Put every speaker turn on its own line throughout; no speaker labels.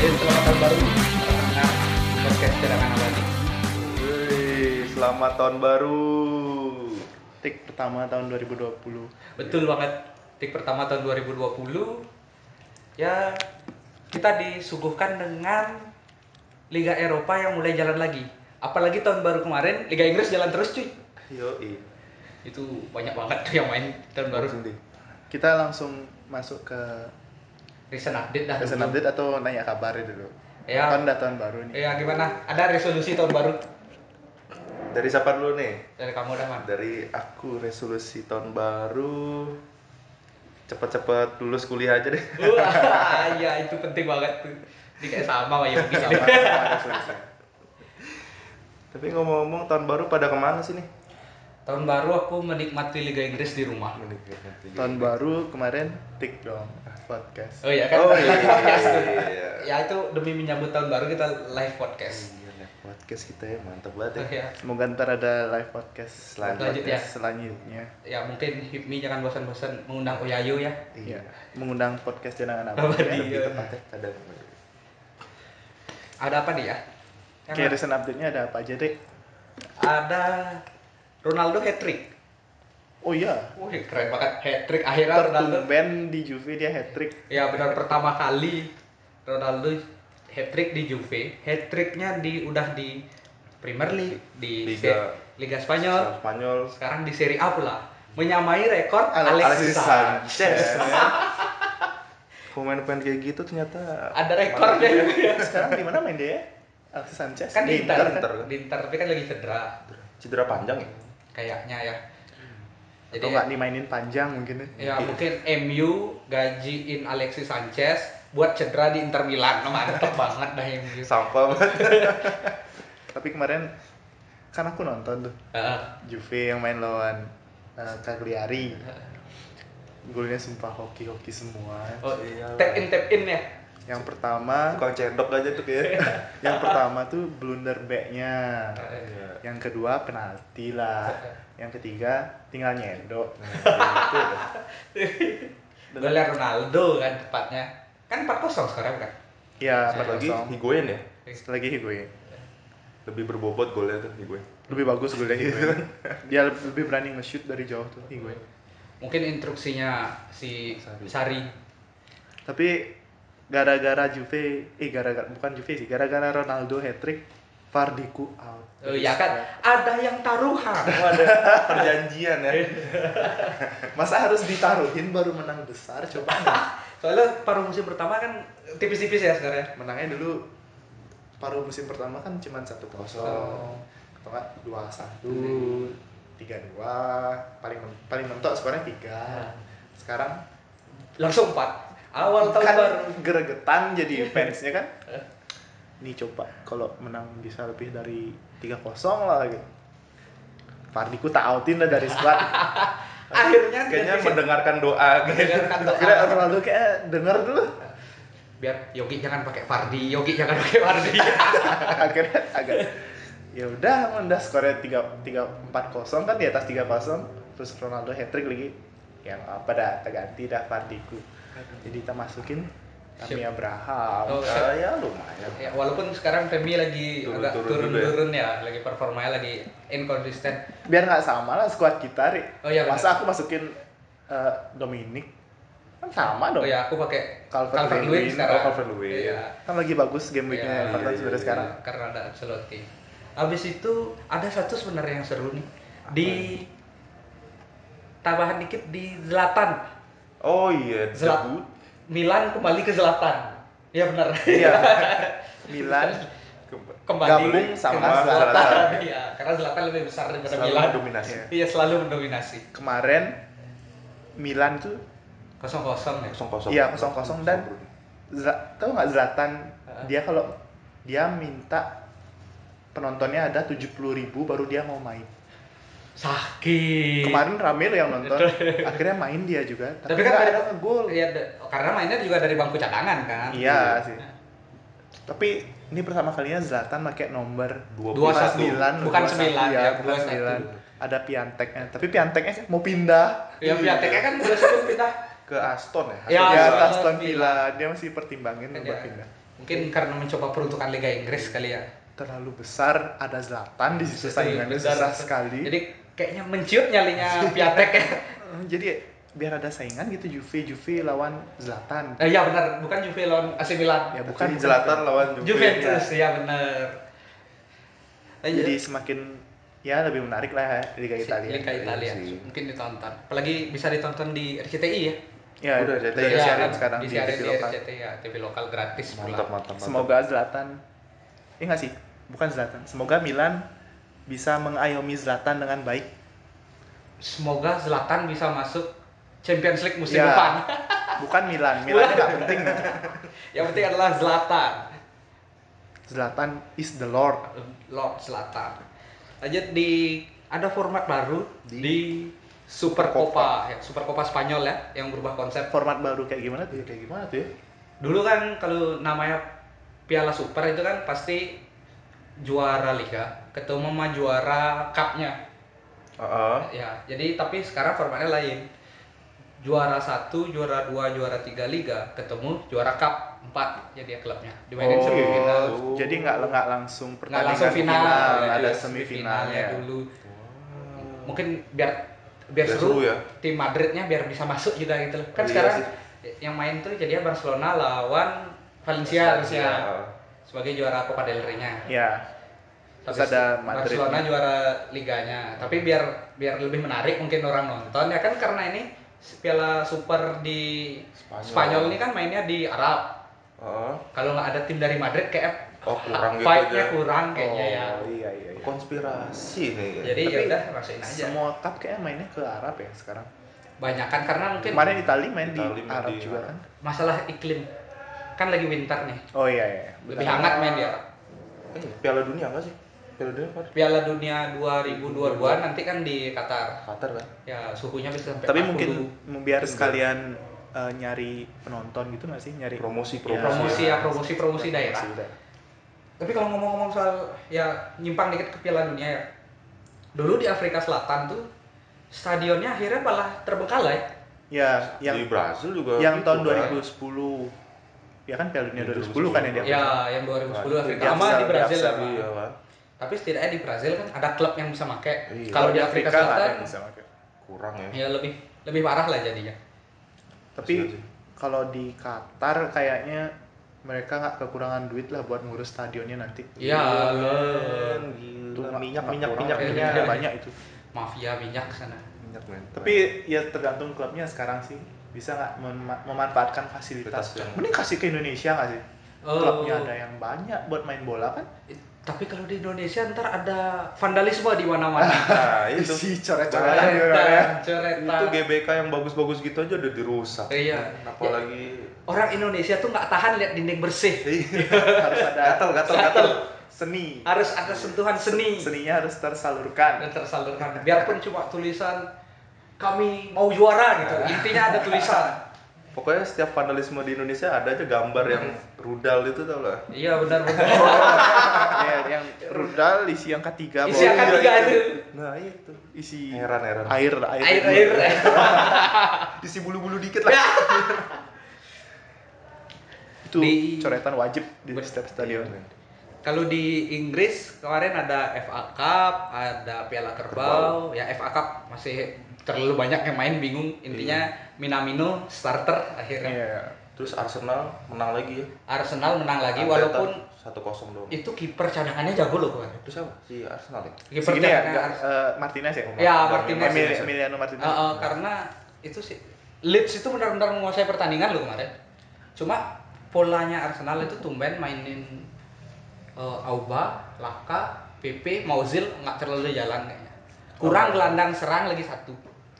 Nah,
Selamat tahun baru.
Tik pertama tahun 2020.
Betul banget. Tik pertama tahun 2020 ya kita disuguhkan dengan Liga Eropa yang mulai jalan lagi. Apalagi tahun baru kemarin Liga Inggris jalan terus cuy.
Yoi.
Itu banyak banget tuh yang main tahun baru.
Langsung deh.
Kita langsung masuk ke
Recent update dah.
recent
dulu.
update atau nanya kabarnya dulu.
Ya.
Kan udah tahun baru nih.
Ya gimana? Ada resolusi tahun baru
Dari siapa dulu nih?
dari kamu dah man?
Dari aku resolusi tahun baru cepet-cepet lulus kuliah aja deh.
Wah, iya itu penting banget tuh. Ini kayak sama sama Yogi.
Sama, sama resolusi.
Tapi ngomong-ngomong tahun baru pada kemana sih nih?
Tahun baru aku menikmati Liga Inggris di rumah.
Oh, tahun baru kemarin tik dong podcast.
Oh iya kan?
Oh, iya.
Podcast tuh.
iya.
Ya itu demi menyambut tahun baru kita live podcast.
Iya, live podcast kita ya mantap banget
Oh,
ya.
ya.
Semoga ntar ada live podcast
Selanjutnya.
Selanjutnya.
selanjutnya.
ya mungkin Hipmi jangan bosan-bosan mengundang Oyayo ya.
Iya.
Iya.
Mengundang podcast jenangan apa?
Abadi.
ya.
Lebih
Iya.
tepatnya kadang.
Ada apa nih ya? Yang
Oke, recent update-nya ada apa aja, Tik?
ada Ronaldo hat trick.
Oh iya.
Wih, keren banget hat trick akhirnya Ronaldo.
Tertumben di Juve dia hat trick.
Ya benar pertama kali Ronaldo hat trick di Juve. Hat tricknya di udah di Premier League, di
Liga.
Se- Liga Spanyol,
Spanyol
sekarang di Serie A pula. Menyamai rekor
Ale-
Alexis,
Alexis
Sanchez.
Sanchez.
ya.
Pemain-pemain kayak gitu ternyata
Ada rekornya juga ya.
Sekarang di mana main dia? ya? Alexis Sanchez.
Kan di Inter,
Inter.
di Inter tapi kan lagi cedera.
cedera panjang ya.
kayaknya ya. Jadi
Atau nggak dimainin panjang mungkin
ya
ya?
mungkin MU gajiin Alexis Sanchez buat cedera di Inter Milan. Mantap banget dah MU.
Sampah banget.
Tapi kemarin kan aku nonton tuh
Heeh.
Juve yang main lawan eh, Cagliari. Golnya sumpah hoki-hoki semua.
oh,
Iyalah.
tap in tap in ya.
Yang pertama,
Tukang cendok aja tuh kayak.
yang pertama tuh blunder back-nya.
Iya.
Yang kedua penalti lah. Yang ketiga tinggal nyendok.
Golnya Ronaldo kan tepatnya. Kan 4-0 sekarang kan.
Ya,
Satu lagi
4-0.
Higuain ya.
Satu lagi Higuain.
Lebih berbobot golnya tuh Higuain.
Lebih bagus golnya Higuain. Dia lebih berani nge-shoot dari jauh tuh Higuain.
Mungkin instruksinya si
Sari.
Sari,
Tapi gara-gara Juve, eh gara-gara bukan Juve sih, gara-gara Ronaldo hat-trick, Fardiku out.
Oh iya kan ada yang taruhan.
Oh, ada perjanjian ya.
Masa harus ditaruhin baru menang besar coba. nggak?
Soalnya paruh musim pertama kan tipis-tipis ya sebenarnya.
Menangnya dulu paruh musim pertama kan cuma 1-0. Atau enggak 2-1, 3-2, paling men- paling mentok skornya 3. Sekarang
Langsung 4. Awal tahun
kan
baru.
geregetan jadi fansnya kan. Nih coba kalau menang bisa lebih dari 3-0 lah gitu. Fardiku tautin lah dari squad. Kan
Akhirnya dia
Kayaknya
bisa
mendengarkan doa
Iya.
gitu.
mendengarkan doa.
Kira Ronaldo kayak "Eh, denger dulu.
biar Yogi jangan pakai Fardi, Yogi jangan pakai Fardi.
akhirnya agak ya udah mendah skornya tiga tiga empat kosong kan di atas tiga kosong terus Ronaldo hat trick lagi yang apa dah terganti dah Fardiku jadi kita masukin kami
Siap.
Abraham
Oh,
Ah, ya lumayan.
ya, walaupun sekarang Femi lagi
Turun-turun
agak
juga ya.
turun-turun ya. lagi performanya lagi inconsistent.
biar nggak sama lah squad kita Ri.
Oh, iya,
masa aku masukin eh, Dominic kan sama
Oh
dong
ya, aku pakai
Calvert-Lewin.
Calvert-Lewin sekarang.
Oh, Calvert-Lewin.
Iya.
kan lagi bagus game
Iya,
weeknya Everton
iya,
sudah
iya.
sekarang
Karena ada Ancelotti. Habis itu ada satu sebenarnya yang seru nih. Di tambahan dikit di Zlatan.
Oh iya,
Zlatan.
debut.
Milan kembali ke Zlatan. Iya benar.
iya Milan
Kemba-
kembali
Gabung sama
ke
Zlatan.
Iya, karena Zlatan lebih besar daripada
Selalu
Milan.
mendominasi.
Iya, selalu mendominasi.
kemarin Milan tuh
Kosong-kosong ya.
kosong kosong.
Iya, 0-0 dan- Zla, tau nggak Zlatan
Heeh.
dia kalau dia minta penontonnya ada 70.000 ribu baru dia mau main
Sakit.
kemarin rame loh yang nonton akhirnya main dia juga
Iya.
tapi,
Tapi kan
nggak
dari-
ada ngegol
Iya, de- karena mainnya juga dari bangku cadangan kan.
iya sih tapi ini pertama kalinya Zlatan pakai nomor
Dua
21
satu. Bukan
21,
sembilan,
ya,
ya,
bukan
21.
9 ada Pianteknya tapi Pianteknya sih mau pindah
Ya, Piateknya kan udah sebelum pindah.
ke Aston ya.
Ya,
ya
Aston
ke Aston
Villa.
Villa dia masih pertimbangin buat
Iya.
pindah
Mungkin karena mencoba peruntukan Liga Inggris kali ya.
terlalu besar ada Zlatan di situ
Benar.
saingannya susah
Iya,
sekali.
Jadi kayaknya menciut nyalinya Piatek ya.
Eh, Jadi biar ada saingan gitu Juve Juve lawan Zlatan.
Eh, iya benar, bukan Juve lawan AC Milan.
Ya,
Tapi
bukan
Zlatan lawan Juve.
Juventus, ya, benar.
Jadi semakin ya lebih menarik lah ya, Liga Italia.
Liga Italia.
Iya sih.
Mungkin ditonton. Apalagi bisa ditonton di RCTI ya.
Ya,
Udah,
udah
jadi
jadi
ya,
siarin
kan?
sekarang di
Disiarin
TV
di,
lokal.
RCTI ya, TV lokal gratis pula.
Mantap, mantap, mantap.
Semoga Zlatan Eh enggak sih, bukan Zlatan. Semoga Milan bisa mengayomi Zlatan dengan baik.
Semoga Zlatan bisa masuk Champions League musim
Ya.
depan.
Bukan Milan, Milan enggak penting.
Yang penting adalah Zlatan.
Zlatan is the Lord.
Lord Zlatan. Lanjut di ada format baru di,
Di
Super Copa, ya, Super Copa Spanyol ya, yang berubah konsep.
Format baru kayak gimana tuh? Kayak gimana tuh ya?
Dulu kan kalau namanya Piala Super itu kan pasti juara liga, ketemu sama juara cupnya.
Heeh.
Ya, jadi tapi sekarang formatnya lain. Juara satu, juara dua, juara tiga liga, ketemu juara cup empat jadi ya klubnya. Dimainin
Oh,
semifinal.
jadi nggak nggak langsung
Nggak
pertandingan
langsung final, ya,
ada ya.
dulu
semifinalnya.
dulu. Mungkin biar biar
Biar
seru,
seru ya.
tim Madridnya biar bisa masuk juga gitu loh. Kan
Iya
sekarang
sih.
yang main tuh jadinya Barcelona lawan Valencia harusnya sebagai juara Copa del Rey-nya.
Ya, Terus
Tapi
ada Madrid.
Barcelona juara liganya. Tapi biar biar lebih menarik mungkin orang nonton ya kan karena ini Piala Super di
Spanyol.
Spanyol, ini kan mainnya di Arab.
Heeh.
Kalau nggak ada tim dari Madrid kayak
Oh, kurang gitu
vibe-nya
aja.
kurang kayaknya ya.
Oh, iya iya. iya.
Konspirasi kayaknya.
Jadi
Tapi
ya udah masukin aja.
Semua cup kayaknya mainnya ke Arab ya sekarang.
Banyak kan karena mungkin
Kemarin Itali main
Itali
di
main
Arab
di
juga
Arab.
kan?
masalah iklim kan lagi winter nih
Oh iya iya.
lebih
Betul.
hangat ya. main dia
Eh, Piala Dunia enggak sih? Piala Dunia kan
Piala Dunia 2022 nanti kan di Qatar
Qatar kan?
ya suhunya bisa sampai
Tapi
40.
mungkin biar sekalian eh, nyari penonton gitu nggak sih? Nyari
Promosi,
Ya,
Iya. promosi
promosi.
ya promosi promosi
Iya,
daerah tapi kalau ngomong-ngomong soal ya nyimpang dikit ke Piala Dunia ya dulu di Afrika Selatan tuh stadionnya akhirnya malah terbengkalai
Ya,
di
yang
Brazil juga gitu
yang tahun
kan.
2010 ya kan Piala Dunia 2010,
2010
kan ya dia.
ya yang 2010 Afrika
Di
sama
Amsel,
di
di
Brazil
Amsel,
sama.
Iya kan?
tapi setidaknya di Brazil kan ada klub yang bisa make
Iya.
kalau di Afrika,
nggak ada
Selatan
yang bisa pakai.
Kurang ya.
ya lebih lebih parah lah jadinya
Tapi
Kasihan sih.
kalau di Qatar kayaknya mereka nggak kekurangan duit lah buat ngurus stadionnya nanti.
ya
Kan,
lo
gitu.
Itu
Minyak, minyak,
minyak minyak minyak
minyak.
Iya, banyak itu.
mafia minyak sana
Minyak, men.
Tapi ya tergantung klubnya sekarang sih bisa nggak mema- memanfaatkan fasilitas.
Fasilitas yang-
Mending kasih ke Indonesia nggak sih?
Oh.
Klubnya ada yang banyak buat main bola kan?
Eh, tapi kalau di Indonesia ntar ada vandalisme di mana-mana
Nah, itu.
Itu sih coret-coretan
Bahaya.
juga ya.
coretan coretan
iya, Itu GBK yang bagus-bagus gitu aja udah dirusak.
iya
Apalagi
orang Indonesia tuh nggak tahan lihat dinding bersih
Harus ada
gatel, gatel, gatel.
seni.
harus ada sentuhan Ah, seni
Seninya harus tersalurkan.
dan tersalurkan biarpun cuma tulisan kami mau juara gitu intinya ada tulisan
Pokoknya setiap vandalisme di Indonesia ada aja gambar yang
Hmm.
rudal itu tau lah.
iya benar benar
ya, yang rudal isi yang ketiga
isi yang
Iya,
bawah.
ketiga itu
Nah itu.
isi
Heran, heran.
air air,
air air
Isi Nah, bulu-bulu dikit
Ya.
lah.
itu
Di-
coretan wajib di
Bet-
setiap stadion
Kalau di Inggris kemarin ada FA Cup, ada Piala Kerbau, ya FA Cup masih terlalu banyak yang main bingung intinya Minamino starter akhirnya.
iya
Terus Arsenal menang lagi ya.
Arsenal menang lagi
Arteta
walaupun
1-0 doang.
itu kiper cadangannya jago loh kemarin.
Itu siapa? Si Arsenal ya?
Kiper
Segini ya
cadangan
ga-
Ars-
eh, Martinez ya
Ya,
Dan
Martinez.
Martinez.
Emil- Emiliano Martinez
Eh, eh, karena itu sih Leeds itu benar-benar menguasai pertandingan loh kemarin. Cuma polanya Arsenal itu tumben mainin eh, Auba, Laka, PP, Mauzil nggak terlalu jalan kayaknya.
Oh.
Kurang gelandang serang lagi satu.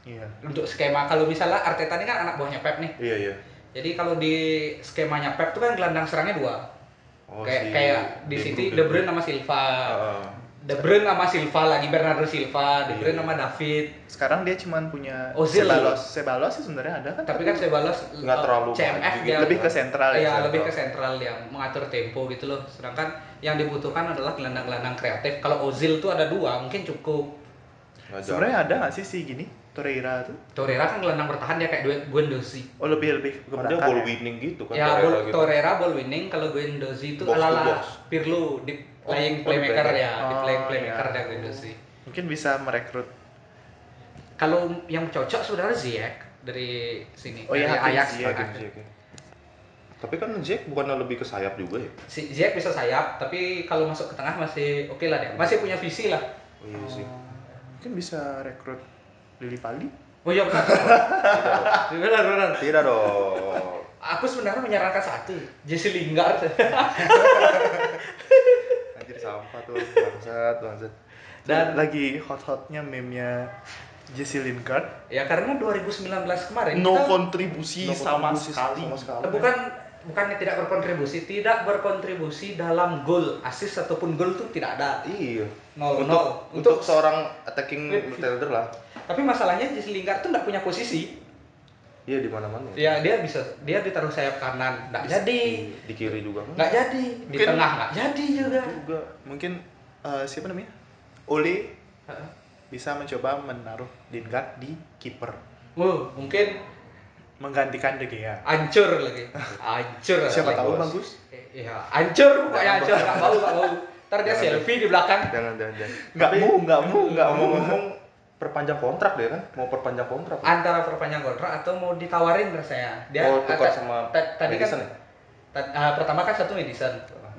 iya
Untuk skema kalau misalnya Arteta ini kan anak buahnya Pep nih.
Iya iya.
Jadi kalau di skemanya Pep tuh kan gelandang serangnya dua.
Oh,
kayak
si
kayak di
De
City
Bruyne.
De Bruyne sama Silva.
Heeh.
De Bruyne sama Silva lagi Bernardo Silva, De Bruyne
Iya.
sama David.
sekarang dia cuman punya
Ozil.
Sebalos Sebalos sih sebenarnya ada kan
tapi kan saya balas
Nggak
eh,
terlalu
CMF
maju
dia
gitu.
lebih ke sentral
ya,
ya
lebih ke sentral yang mengatur tempo gitu loh sedangkan yang dibutuhkan adalah gelandang-gelandang kreatif kalau Ozil tuh ada dua mungkin cukup
Nggak jauh.
ya, sebenarnya ada nggak sih si gini Torreira tuh
Torreira kan gelandang bertahan dia kayak Gwen- Guendouzi.
oh lebih lebih
Kemudian
kodakan
kan ball
ya.
winning gitu kan
Ya,
Torreira
ball,
gitu.
Torreira ball winning kalau Guendouzi itu
Box to
ala-ala
box.
Pirlo di
Oh,
playing
oh,
playmaker
playmaker.
ya, di
Oh,
playing playmaker
iya.
dia gitu Guendouzi.
mungkin bisa merekrut
Kalau yang cocok saudara Ziyech dari sini
Oh,
dari
iya, Hakim
Ajax.
Ziyech,
kan.
Hakim Ziyech ya. tapi kan Ziyech bukannya lebih ke sayap juga ya
Si Ziyech bisa sayap, tapi kalau masuk ke tengah masih oke lah dia. Masih punya visi lah.
oh, iya sih
mungkin bisa rekrut Lili Pali
Oh iya benar. benar benar.
tidak dong
Aku sebenarnya menyarankan satu, Jesse Lingard.
anjir sampah tuh bangsat bangsat
Dan-
dan lagi hot-hotnya meme-nya Jesse Lingard
ya karena 2019 kemarin
no
kita-
kontribusi
No
sama
kontribusi
sekali Nah,
sama sekali.
kan bukan bukannya tidak berkontribusi, tidak berkontribusi dalam gol, assist ataupun gol tuh tidak ada.
iya
Nol,
untuk,
nol.
untuk seorang attacking midfielder lah
Tapi masalahnya Jesse Lingard tuh nggak punya posisi.
iya di mana mana
Ya dia bisa dia ditaruh sayap kanan, nggak jadi.
di kiri juga kan
Nggak jadi. Di
Mungkin-
tengah nggak jadi juga.
juga mungkin eh, siapa namanya Ole
Heeh.
bisa mencoba menaruh Lingard di kiper
Wow, Oh, mungkin
menggantikan De Gea
hancur lagi. Hancur.
siapa
lagi.
tahu
bos.
bagus
Eh, Iya, hancur pokoknya hancur, nggak mau nggak mau. Ntar dia
Jangan,
selfie di belakang.
jangan jangan jangan
nggak
Tapi-
mau nggak mau nggak mau
ngomong-ngomong perpanjang kontrak deh kan mau perpanjang kontrak
antara perpanjang kontrak atau mau ditawarin rasanya dia
Oh, tukar
eh, ta-
sama
ta- tadi kan
Madison ya?
ta- eh, pertama kan satu Madison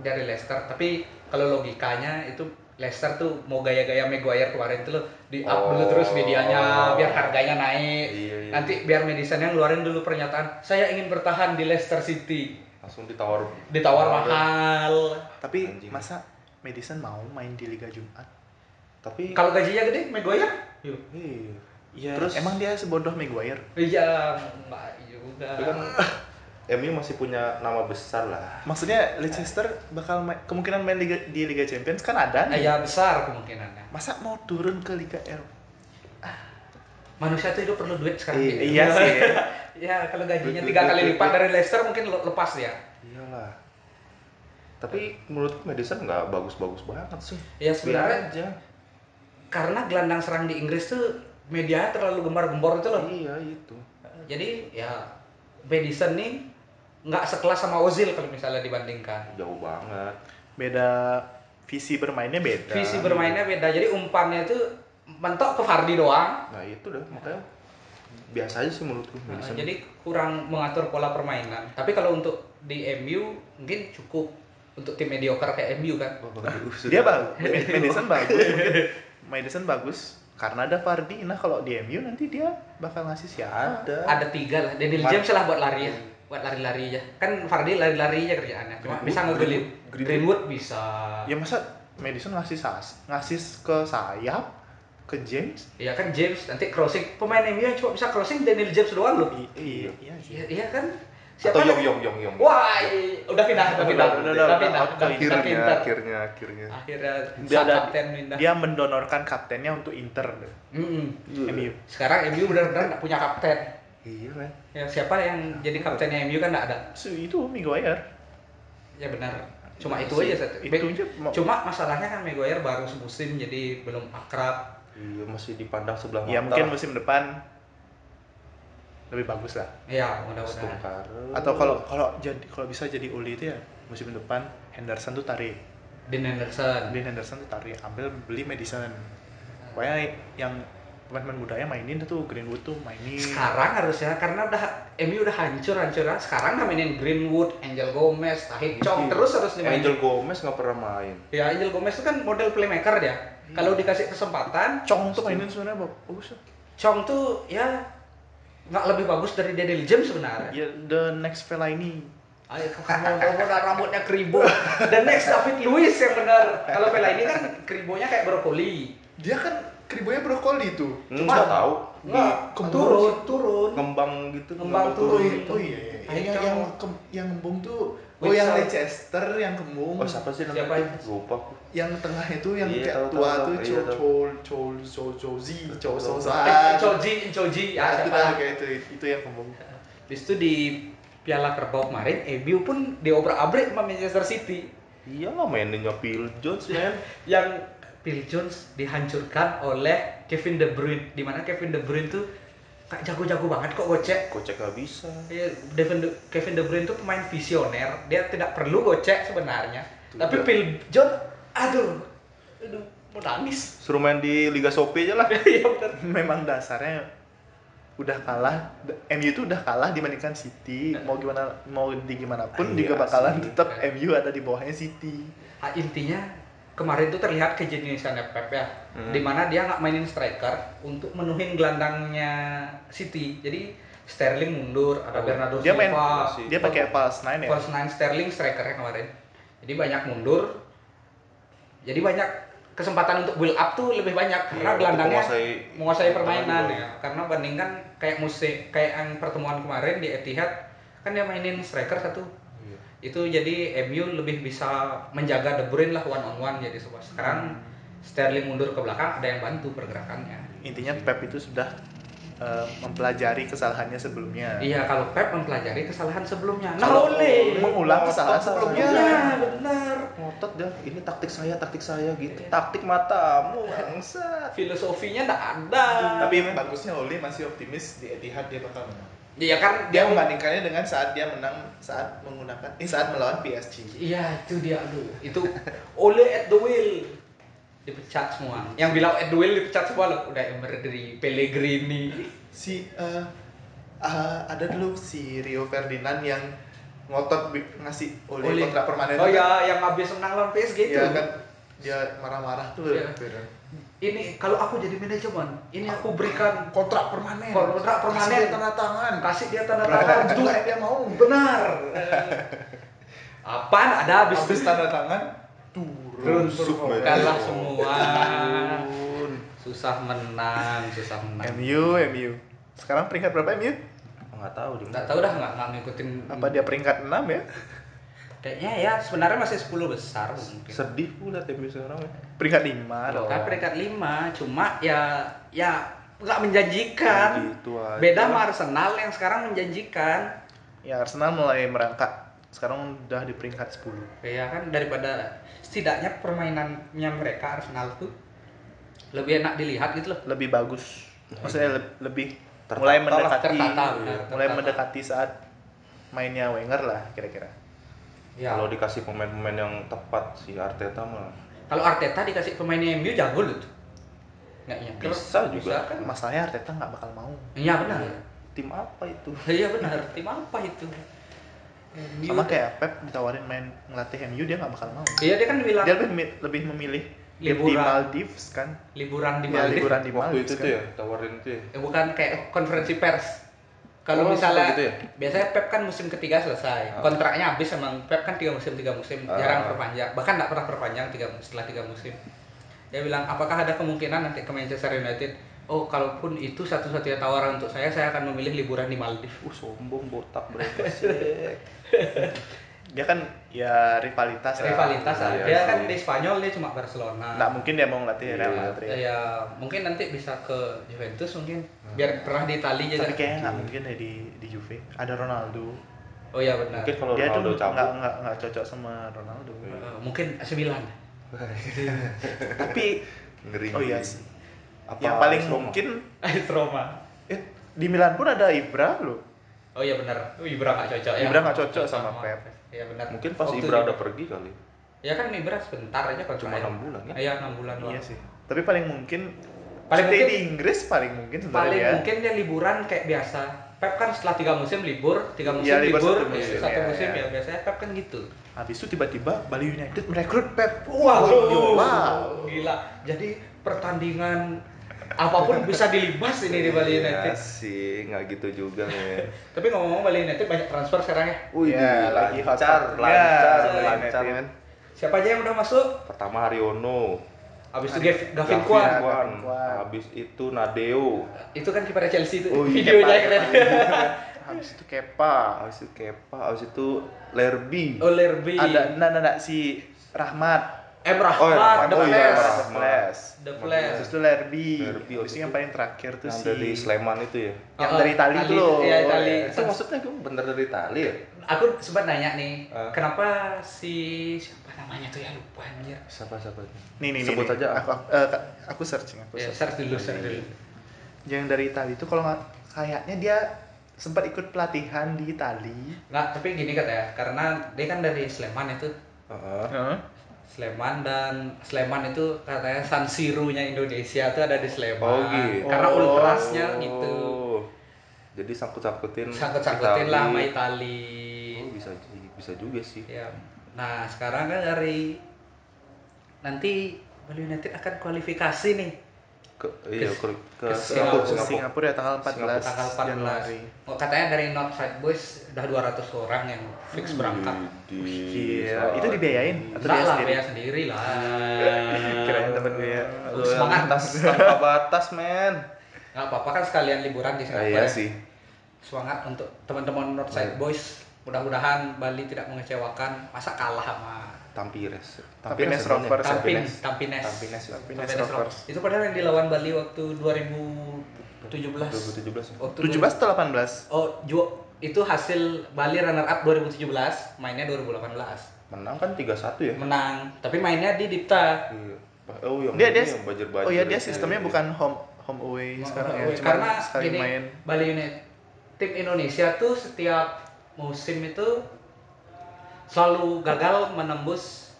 dari Leicester tapi kalau logikanya itu Leicester tuh mau gaya-gaya Maguire kemarin tuh loh di up dulu
Oh.
terus medianya biar harganya naik
Iya, iya.
nanti biar Madison yang ngeluarin dulu pernyataan saya ingin bertahan di Leicester City
langsung ditawar
ditawar mahal
tapi
Anjing.
masa Madison mau main di Liga Jumat
tapi
kalau gajinya gede Maguire yuk
iya
Iya.
Terus-
emang dia sebodoh Maguire
iya mbak juga
Tapi kan MU masih punya nama besar lah
maksudnya Leicester bakal main- kemungkinan main Liga- di Liga Champions kan ada
Eh,
nih
ya besar kemungkinannya
masa mau turun ke Liga Eropa
manusia tuh hidup perlu duit sekarang gitu.
Iya,
iya sih.
ya kalau gajinya
Duit,
tiga
duit,
kali
duit,
lipat
duit.
dari Leicester mungkin lo- lepas ya
iyalah tapi menurutku Madison nggak bagus-bagus banget sih
ya
biar
sebenarnya
aja
karena gelandang serang di Inggris tuh media terlalu gembar-gembor itu loh
iya itu
jadi ya Madison nih nggak sekelas sama Ozil kalau misalnya dibandingkan
jauh banget
beda visi bermainnya
Ya.
beda
visi bermainnya beda jadi umpannya itu mentok ke Fardi doang
nah itu dah makanya biasa aja sih menurutku
Nah,
Madison
jadi kurang mengatur pola permainan tapi kalau untuk di MU mungkin cukup untuk tim mediocre kayak MU kan
Waduh, sudah.
dia bagus Madison bagus mungkin Madison bagus karena ada Vardy nah kalau di MU nanti dia bakal ngasih siapa
ada
ada tiga lah Daniel
Mar-
James lah buat lari ya buat lari-lari aja kan Fardi lari-lari aja kerjaannya cuma
Greenwood,
bisa ngegelit
Greenwood,
Greenwood.
Greenwood.
bisa
ya masa Madison ngasih sas ngasih ke sayap ke James
ya kan James nanti crossing pemain MU yang cuma bisa crossing Daniel James doang loh
I- i- iya sih.
iya iya kan
atau
yang
Yong Yong Yong Yong
wah iya. i- udah pindah udah
Udah,
pindah
udah,
udah
udah,
pindah
udah,
udah pindah,
akhirnya
pindah.
akhirnya akhirnya
akhirnya
Dia
sang
ada-
kapten pindah
dia mendonorkan kaptennya untuk Inter
Mm-mm.
MU
sekarang MU benar-benar nggak punya kapten
iya men
ya siapa yang jadi kaptennya MU kan nggak ada
So, itu Maguire
ya benar cuma itu
Si-
aja satu
itu aja mau-
cuma masalahnya kan Maguire baru semusim jadi belum akrab
iya masih dipandang sebelah mata
ya mungkin musim depan lebih bagus lah
ya mudah-mudahan
Setungkar.
atau kalau kalau jadi kalau bisa jadi Uli itu ya musim depan Henderson tuh tarik
Dean Henderson
Dean Henderson tuh tarik ambil beli Madison pokoknya yang pemain-pemain mudanya mainin tuh Greenwood tuh mainin
sekarang harusnya karena udah MU udah hancur hancuran sekarang nggak mainin Greenwood Angel Gomez Tahit Chong
Iya.
terus harus dimainin
Angel Gomez nggak pernah main
ya Angel Gomez itu kan model playmaker dia kalau dikasih kesempatan
Chong tuh mainin sebenarnya Oh, bag- bagus tuh.
Chong tuh ya nggak lebih bagus dari Daniel James sebenarnya
ya the next Fellaini
Ayo kamu kamu udah rambutnya kribo dan next David Luiz yang benar kalau Vela ini kan kribonya kayak brokoli
dia kan kribonya brokoli tuh
Hmm, nggak tahu
nggak
kembang.
turun turun
ngembang gitu
Ngembang turun.
oh iya, iya.
Tarik
yang
Chong.
yang kem- yang ngembung tuh oh
Which
yang
side?
Leicester yang kembung
oh siapa sih
Siapa
namanya
itu?
lupa aku.
yang tengah itu yang
Iya,
kayak
tahu,
tua
tahu,
tuh
tahu.
Chol
Iya, tahu.
Chol Chol Chol Chol Z
Tahu,
Chol
tahu.
Eh,
Sozan.
Choji Choji ya
Ah,
Ya, itu
siapa
dah, kayak itu itu yang kembung
Habis itu di Piala Kerbau kemarin, MU
Iya
pun diobrak-abrik sama Manchester City
iyalah mainnya Phil Jones men
yang Phil Jones dihancurkan oleh Kevin De Bruyne. Di mana Kevin De Bruyne tuh kayak jago-jago banget kok gocek.
Kocek gak bisa.
Iya, Devin De- Kevin De Bruyne itu pemain visioner, dia tidak perlu gocek sebenarnya.
Tidak.
Tapi Phil Jones, aduh, aduh, mau nangis.
Suruh main di Liga Shopee aja lah.
Iya benar.
memang dasarnya udah kalah D- MU itu udah kalah dibandingkan City
Nah.
mau gimana mau di gimana
Ah,
pun
Iya
juga bakalan
sih.
tetap MU ada di bawahnya City
Ah, intinya kemarin tuh terlihat kejeniusannya Pep ya,
Hmm.
dimana dia nggak mainin striker untuk menuhin gelandangnya City. Jadi Sterling mundur, ada
Oh,
Bernardo
dia
Silva,
main-
Si-
dia pakai false nine ya
False nine Sterling strikernya kemarin. Jadi banyak mundur. Jadi banyak kesempatan untuk build up tuh lebih banyak karena
Iya,
gelandangnya
untuk menguasai-
menguasai permainan
permainan
ya. Karena bandingkan kayak musim kayak yang pertemuan kemarin di Etihad kan dia mainin striker satu. Itu jadi MU lebih bisa menjaga De Bruyne lah one on one jadi semua. Sekarang Sterling mundur ke belakang ada yang bantu pergerakannya.
intinya Pep itu sudah eh, mempelajari kesalahannya sebelumnya
Iya kalau Pep mempelajari kesalahan sebelumnya. Nah
Kalau
oleh.
mengulang kesalahan Nah, sebelumnya
Iya benar.
ngotot dah ini taktik saya taktik saya gitu taktik matamu bangsat
Filosofinya nggak ada.
Tapi bagusnya Oli masih optimis di Etihad dia bakal menang.
Iya kan
Dia membandingkannya dengan saat dia menang saat menggunakan eh saat melawan PSG.
Iya itu dia aduh itu oleh at the wheel dipecat semua. Yang bilang at the wheel dipecat semua loh. Udah Emery dari Pellegrini.
Si eh, eh, ada dulu si Rio Ferdinand yang ngotot bi- ngasih Oli,
Ole.
kontrak permanen.
Oh
iya.
ya yang habis menang lawan PSG itu.
Iya kan dia marah-marah tuh.
Iya. Ini kalau aku jadi manajemen, ini aku berikan
Kontrak permanen.
Kontrak permanen.
Kasih dia tanda tangan.
kasih dia tanda
Berapa
tangan
juta
tuh
yang Oh, eh, dia mau?
benar. Apaan ada habis
Habis
itu?
tanda tangan turun.
Rusuk banget.
kalah semua. Susah menang, susah menang.
MU MU sekarang peringkat berapa MU
Enggak tahu di
Nggak tahu dah nggak nggak ngikutin
apa dia peringkat 6 ya
Kayaknya ya sebenarnya masih 10 besar mungkin.
Sedih pula MU sekarang ya.
peringkat 5
Kan peringkat 5 cuma ya ya nggak menjanjikan.
Ya gitu aja.
Beda sama Arsenal yang sekarang menjanjikan.
ya Arsenal mulai merangkak sekarang udah di peringkat 10
Ya kan daripada setidaknya permainannya mereka Arsenal tuh lebih enak dilihat gitu loh.
lebih bagus maksudnya le- lebih
Tertata lah,
mulai mendekati
tertata, benar,
mulai
tertata.
mendekati saat mainnya Wenger lah kira-kira
Ya.
Kalau dikasih pemain-pemain yang tepat si Arteta mah
Kalau Arteta dikasih pemainnya MU jago loh tuh. Nggak nyeker.
Bisa juga.
kan.
masalahnya Arteta nggak bakal mau
Iya benar.
Iya tim apa itu?
Iya benar. Tim apa itu? MU.
sama kayak Pep ditawarin main ngelatih MU dia nggak bakal mau
Iya dia kan bilang
dia lebih mi- lebih memilih dia di
Liburan.
Maldives kan
liburan di
Dia
Bali.
liburan di
Waktu
Maldives
itu
kan
tuh ya, tawarin itu ya.
Ya, bukan kayak konferensi pers. Kalau
Oh,
misalnya
suka gitu ya?
biasanya Pep kan musim ketiga selesai,
Ah.
kontraknya habis emang Pep kan tiga musim tiga musim
Ah.
jarang perpanjang, bahkan nggak pernah perpanjang tiga setelah tiga musim. Dia bilang apakah ada kemungkinan nanti ke Manchester United? Oh kalaupun itu satu-satunya tawaran untuk saya, saya akan memilih liburan di Maldives.
Uh sombong botak mereka sih.
dia kan ya rivalitas lah.
Rivalitas lah.
iya
dia
sih.
kan di Spanyol dia cuma Barcelona.
nggak mungkin dia mau ngelatih Real
Iya.
Madrid
Ya mungkin nanti bisa ke Juventus mungkin
Ah.
biar pernah di Itali juga.
tapi kayaknya nggak mungkin ya di di Juve ada Ronaldo
Oh ya benar.
Mungkin kalau
dia
Ronaldo
tuh nggak
cabut Iya.
nggak nggak cocok sama Ronaldo
Eh, mungkin sembilan.
tapi
ngeri.
oh iya
ngeri.
sih
Apa
yang paling
Roma?
mungkin
AS Roma.
eh, di Milan pun ada Ibra loh
Oh iya benar. Oh, Ibra nggak cocok ya.
Ibra nggak cocok sama Pep.
Iya benar.
Mungkin pas
Waktu
Ibra
di-
udah pergi kali.
Ya kan Ibra sebentar aja kan
Cuma enam bulan ya.
Iya 6 bulan doang.
iya sih tapi paling mungkin
Paling
stay
mungkin-
di Inggris paling mungkin sebenarnya ya.
Paling
dia
mungkin dia liburan kayak biasa. Pep kan setelah tiga musim libur, tiga musim
Iya, libur
libur,
satu musim,
satu
iya,
musim
iya.
ya biasanya Pep kan gitu.
habis itu tiba-tiba Bali United merekrut Pep
gila.
Wow.
gila. Jadi pertandingan apapun bisa dilibas ini di
Iya.
Bali
Ya
United.
sih, nggak gitu juga ya.
Tapi ngomong-ngomong Bali United banyak transfer sekarang ya.
Wih,
Ya, lagi hot
lancar,
hotnya
lancar,
Bali
lancar,
United.
kan.
Siapa aja yang udah masuk?
Pertama Haryono,
Abis itu
Adi-
Gav- Gavin
Gavin
Kwan.
Kwan.
Gavin Kwan.
Nah, habis itu Nadeo,
Itu kan kiper Chelsea itu.
Oh iya,
Videonya keren.
habis itu Kepa
habis itu Kepa, habis itu Lerby.
Oh,
Oh, iya,
Olerbi.
ada nah, nah, nah, si Rahmat
Eh, Rahmat,
Oh, Rahmat.
The
Oh, iya,
Flash.
Rahmat.
Flash.
The
Terus
Flash.
itu Lerby.
Lerby,
Habis itu yang paling terakhir tuh
yang
si
dari Sleman itu ya Eh,
yang
Oh,
dari Itali
Itali,
itu loh.
iya, Itali.
itu maksudnya gue bener dari Itali ya
Aku sempat nanya nih,
Ah.
kenapa si siapa namanya tuh ya lupa anjir.
siapa siapa itu
Nih nih nih,
sebut
nih.
aja Iya.
Aku eh, aku searching aku.
Ya,
searching.
search dulu, search dulu.
Yang dari Itali itu kalau nggak kayaknya dia sempat ikut pelatihan di Itali.
Nggak, tapi gini katanya, karena dia kan dari Sleman itu
Heeh.
Sleman dan Sleman itu katanya San Siro-nya Indonesia tuh ada di Sleman.
Oh, gitu.
Karena
Oh.
ultrasnya gitu.
Oh. jadi sangkut-sangkutin
Sangkut-sangkutin
Itali.
lah sama Itali.
Oh, bisa bisa juga sih
Ya. Nah, sekarang kan dari nanti Bali United akan kualifikasi nih
ke iya
Ke- ke
ke, ke Singapura
Singapura,
Singapura
Singapura ya tanggal 14
tanggal 14.
Januari.
Oh, katanya dari Northside Boys udah 200 orang yang
Hmm.
fix berangkat.
Gila, itu dibiayain atau
Enggak
dia
lah,
sendiri?
biaya sendiri lah.
Kirain temen gue ya.
Aduh,
Semangat.
Nah, yang tas tanpa batas men
Nggak apa-apa kan sekalian liburan di
Ah,
Singapura.
iya
ya.
sih Iya.
Semangat untuk teman-teman Northside Boys. Mudah-mudahan Bali tidak mengecewakan. Masa kalah sama
Tampires
Tampines
namanya.
Rovers.
Tampin,
Tampines
Tampines.
Tampines ya.
Tampines
Tampines
Rovers.
Rovers. Itu padahal yang dilawan Bali waktu 2017.
2017 ya?
Waktu
17 atau 18?
Oh, ju- itu hasil Bali runner up 2017, mainnya 2018.
menang kan 3-1 ya
Menang, tapi mainnya di Dipta.
Iya. Oh, yang
Dia
ini
dia
yang ya. bajer
Oh iya, dia sistemnya bukan home home away sekarang ya, cuma
Karena
sekali
gini,
main.
Bali United tim Indonesia tuh setiap musim itu selalu gagal menembus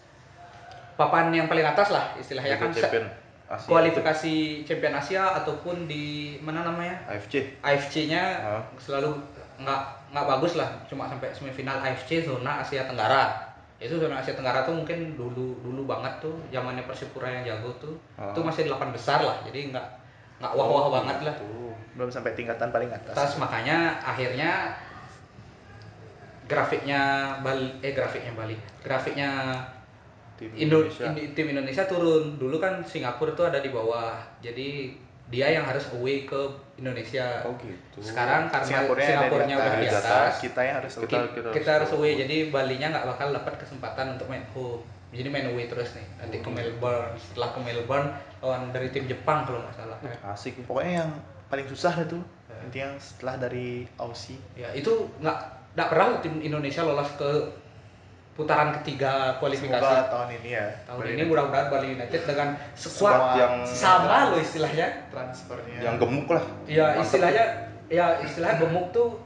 papan yang paling atas lah istilahnya kan se-
champion Asia.
kualifikasi Champion Asia ataupun di mana namanya
AFC
AFC-nya
Hah?
selalu nggak nggak bagus lah cuma sampai semifinal AFC zona Asia Tenggara itu zona Asia Tenggara tuh mungkin dulu dulu banget tuh zamannya Persipura yang jago tuh
Hah?
itu masih delapan besar lah jadi nggak nggak
Oh,
wah
iya.
wah banget lah
Tuh.
Belum sampai tingkatan paling
tas
atas.
makanya akhirnya grafiknya Bali eh grafiknya Bali grafiknya
tim
Indo-
Indonesia
Indo- tim Indonesia turun dulu kan Singapura tuh ada di bawah jadi dia yang harus away ke Indonesia
oh gitu
sekarang karena
Singapurnya
Singapurnya,
ada di
udah di
atas.
atas
Kita yang harus
Kita-
kita,
kita
kita,
harus
harus
away.
away jadi Balinya nggak bakal dapat kesempatan untuk main home jadi main away terus nih nanti ke Melbourne setelah ke Melbourne lawan dari tim Jepang kalau nggak salah kan.
asik ya
pokoknya yang paling susah itu
Hmm.
intinya setelah dari Aussie
ya itu nggak nggak pernah loh tim Indonesia lolos ke putaran ketiga
semoga
kualifikasi
tahun ini ya
tahun
Bali
ini mudah-mudahan Bali United dengan
Squad
sekuat
yang
sama loh istilahnya
transfernya
yang gemuk lah
ya
Mantep.
istilahnya ya istilahnya gemuk tuh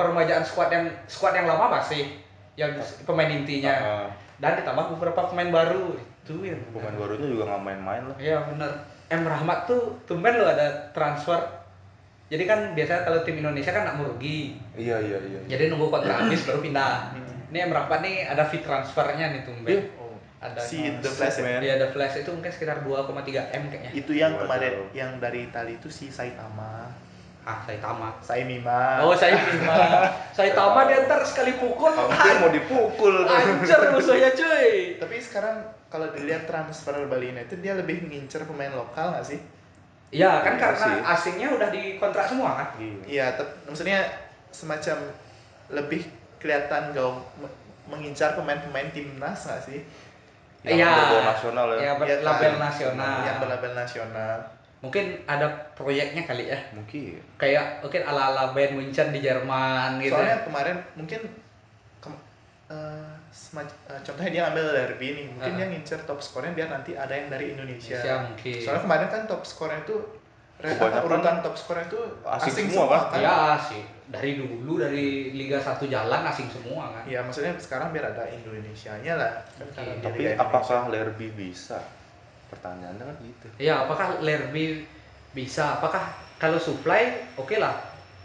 permajaan squad yang squad yang lama masih yang pemain intinya
Ah,
dan ditambah beberapa pemain baru itu yang
pemain barunya juga nggak main-main lah
ya benar M Rahmat tuh tumben lo ada transfer jadi kan biasanya kalau tim Indonesia kan nggak merugi
iya iya iya
jadi nunggu kontrak habis baru pindah
Hmm.
ini M Rahmat nih ada fee transfernya nih tumben
Oh.
ada
si The Flash ya? Iya.
man.
Iya, ada flash itu mungkin sekitar 2,3 M kayaknya
itu yang
Waduh.
kemarin yang dari Itali itu si Saitama
ah Saitama
Saimima
oh Saitama Saitama dia ntar sekali pukul
hampir mau dipukul
Anjir musuhnya cuy.
tapi sekarang kalau dilihat transfer Bali United dia lebih ngincer pemain lokal nggak sih
Ya kan
Iya
karena
sih.
asingnya udah dikontrak semua kan.
Gila.
iya tep- maksudnya semacam lebih kelihatan gaung me- mengincar pemain-pemain timnas nggak sih
Yang berbau nasional ya.
Iya, ber-
Iya kan?
label nasional.
yang berlabel nasional
Mungkin ada proyeknya kali ya.
mungkin
Kayak mungkin ala-ala Bayern München di Jerman gitu.
soalnya kemarin mungkin kem- eh, semac- eh, contohnya dia ambil derby nih mungkin
Ah.
dia ngincer top skornya biar nanti ada yang dari Indonesia,
Indonesia mungkin.
soalnya kemarin kan top skornya itu re- apa,
Kebanyakan
urutan top skornya itu
asing
asing,
semua,
semua,
kan?
kan
ya sih. Dari dulu dari Liga 1 jalan asing semua kan.
Iya, maksudnya sekarang biar ada Indonesianya lah. Kan
Oke.
karena dia
tapi
Liga Indonesia.
apakah Lerby bisa pertanyaannya kan gitu
Ya apakah Lerby bisa? Apakah kalau supply oke lah.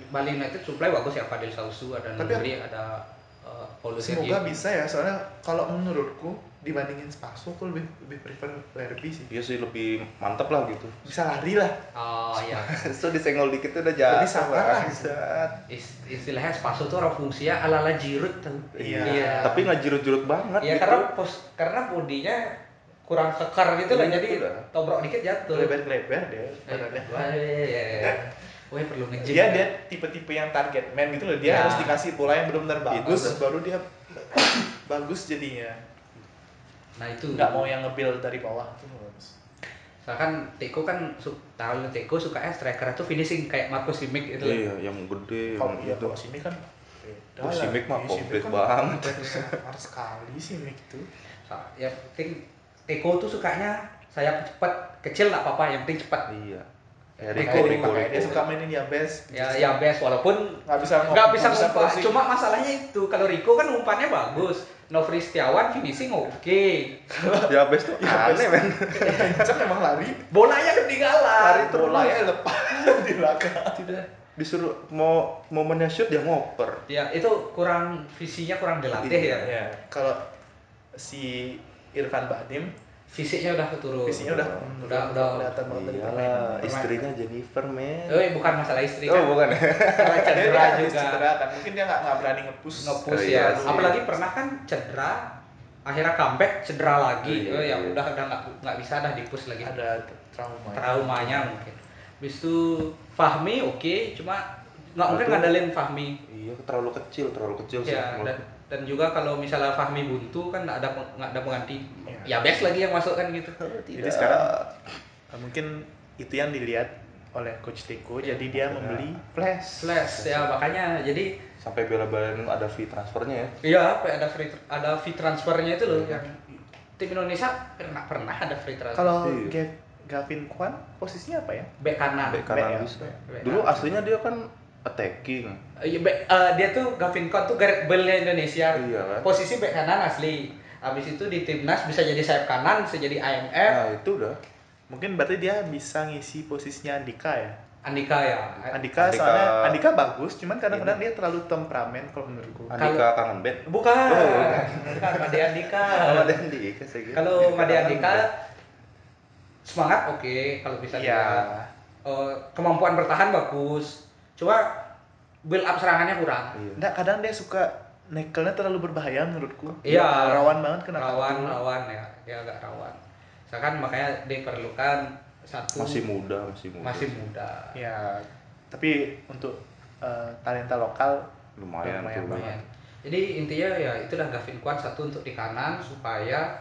Bali United supply bagus ya Fadil Sausu ada
Tapi-
Nuri ada uh, Paulo
Semoga
Sergio.
bisa ya, soalnya kalau menurutku dibandingin Spaso, aku lebih lebih prefer Lerby sih.
dia Iya sih lebih mantep lah gitu
Bisa lari lah.
Oh iya.
so disenggol dikit tuh udah
Lebih sama lah.
Is- istilahnya spaso tuh orang ya, fungsinya ala ala jirut tuh
Iya.
tapi nggak jurut-jurut banget
Iya,
gitu.
karena pos karena bodinya kurang kekar gitu lah
Iya,
jadi
betul lah.
tobrok dikit jatuh
Lebar-lebar dia.
Eh,
badannya.
wah, iya, iya, iya. Wah, perlu ngejim
Iya, Dia dia tipe-tipe yang target man gitu loh. Dia
Ya.
harus dikasih bola yang benar-benar
Itu
bagus
udah.
baru dia bagus jadinya.
Nah itu.
nggak mau yang nge-build dari bawah tuh
Soalnya Teko kan su- tahu Teko sukanya striker itu finishing kayak gitu. Marco Simic itu.
Iya, yang gede yang gitu.
kalau iya
itu.
kalau sini kan
Oh, si Mick
Iya,
mah komplit banget.
kan Harus sekali sih Mick tuh.
Sa- Yang ya, penting Teko tuh sukanya sayap cepat, kecil nggak apa-apa, yang penting cepat.
Iya.
Rico,
Rico,
Kayak dia-
Rico,
makanya
Rico.
dia suka mainin yang best.
Ya, yang best walaupun
nggak bisa ngomong,
nggak bisa ngumpan.
closing.
Cuma masalahnya itu kalau Rico kan umpannya bagus. Novri Setiawan finishing oke.
Ya best tuh aneh men.
Kenceng emang lari.
Bolanya ketinggalan.
Bola ya lepas di belakang.
Tidak. Disuruh mau momennya shoot dia ngoper.
Ya, itu kurang visinya kurang dilatih ya.
Iya.
Ya, kalau si Irfan Bahdim
Fisiknya udah turun.
visinya udah
Udah, udah.
kelihatan banget
Iya.
dari permainan.
Iyalah, istrinya Jennifer men.
Eh, bukan masalah istri
Oh,
kan.
bukan ya?
Karena
Dia
cedera
habis
juga.
cedera kan. Mungkin dia nggak nggak berani gitu ngepush.
ngepush
Oh,
ya.
iya sih.
Apalagi pernah kan cedera, akhirnya comeback cedera lagi.
Iya,
Oh, ya
iya.
udah udah nggak nggak bisa dah dipush lagi.
ada trauma.
ya.
Traumanya mungkin. Habis itu Fahmi oke, cuma nggak mungkin
Aduh.
ngandelin Fahmi.
Iya, terlalu kecil, terlalu kecil Iya, sih.
Ya, dan,
menurutku.
dan juga kalau misalnya Fahmi buntu kan nggak ada peng- nggak ada pengganti.
Iya.
Ya best lagi yang masuk kan gitu.
Jadi sekarang eh, mungkin itu yang dilihat oleh coach Teko jadi dia
Iya.
membeli flash.
Slash ya makanya jadi
sampai bela-belain ada fee transfernya ya.
iya apa ada free tr- ada free transfernya itu
Iya.
loh yang tim Indonesia pernah pernah ada free transfer
Kalau
Iya.
Gav- Gavin Kwan posisinya apa ya?
back kanan
Back kanan
ya.
bisa.
Back
Dulu
kanan.
aslinya dia kan attacking.
Iya, back- eh, dia tuh Gavin Kwan tuh Gareth Bale-nya Indonesia.
Iya kan?
Posisi back kanan asli. Habis itu di timnas bisa jadi sayap kanan, bisa jadi IMF,
Nah, itu udah.
Mungkin berarti dia bisa ngisi posisinya Andika ya.
Andika ya.
Andika,
Andika-
soalnya Andika bagus, cuman kadang-kadang dia terlalu temperamen kalau menurutku.
Andika kangen band.
Bukan.
Oh,
Bukan Made Andika.
Sama Dendi kasih gitu.
Kalau
Jadi
Made
kangen
Andika
band.
semangat oke kalau bisa
Iya.
dia. Eh, kemampuan bertahan bagus. Cuma build up serangannya kurang.
Iya.
Nggak, kadang dia suka nekelnya terlalu berbahaya menurutku.
Iya.
Rawan banget kena kartu.
rawan, rawan ya. Dia agak rawan. Misalkan makanya diperlukan satu
masih muda, masih muda.
masih muda.
Ya, tapi untuk eh, talenta lokal
lumayan,
Lumayan
tuh.
banget.
Lumayan. Jadi intinya ya itu dah Gavin Kwan satu untuk di kanan supaya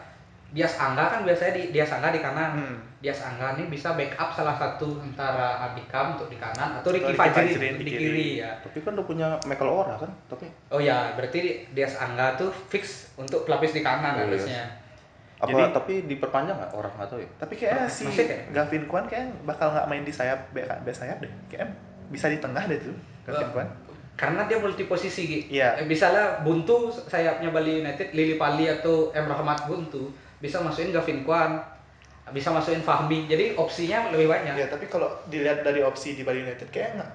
Dias Angga kan biasanya di Dias Angga di kanan.
Hmm.
Dias Angga ini bisa backup salah satu antara Andika untuk di kanan atau Ricky
Ricky
Fajri
Fajrin
di
di
kiri.
kiri.
ya.
Tapi kan udah punya Michael Ora kan? Tapi
Oh ya, berarti Dias Angga tuh fix untuk pelapis di kanan
Iya.
harusnya.
apa
Jadi-
tapi diperpanjang nggak orang atau ya?
tapi kayaknya si
Masih kayak-
Gavin Kwan kayak bakal nggak main di sayap bek bek sayap deh. Kayak bisa di tengah deh tuh Gavin
Eh,
Kwan.
Karena dia multi posisi Gi.
Iya.
Eh, Misalnya buntu sayapnya Bali United, Lili Pali atau M Rahmat buntu, bisa masukin Gavin Kwan, bisa masukin Fahmi. Jadi opsinya lebih banyak.
Ya tapi kalau dilihat dari opsi di Bali United kayak nggak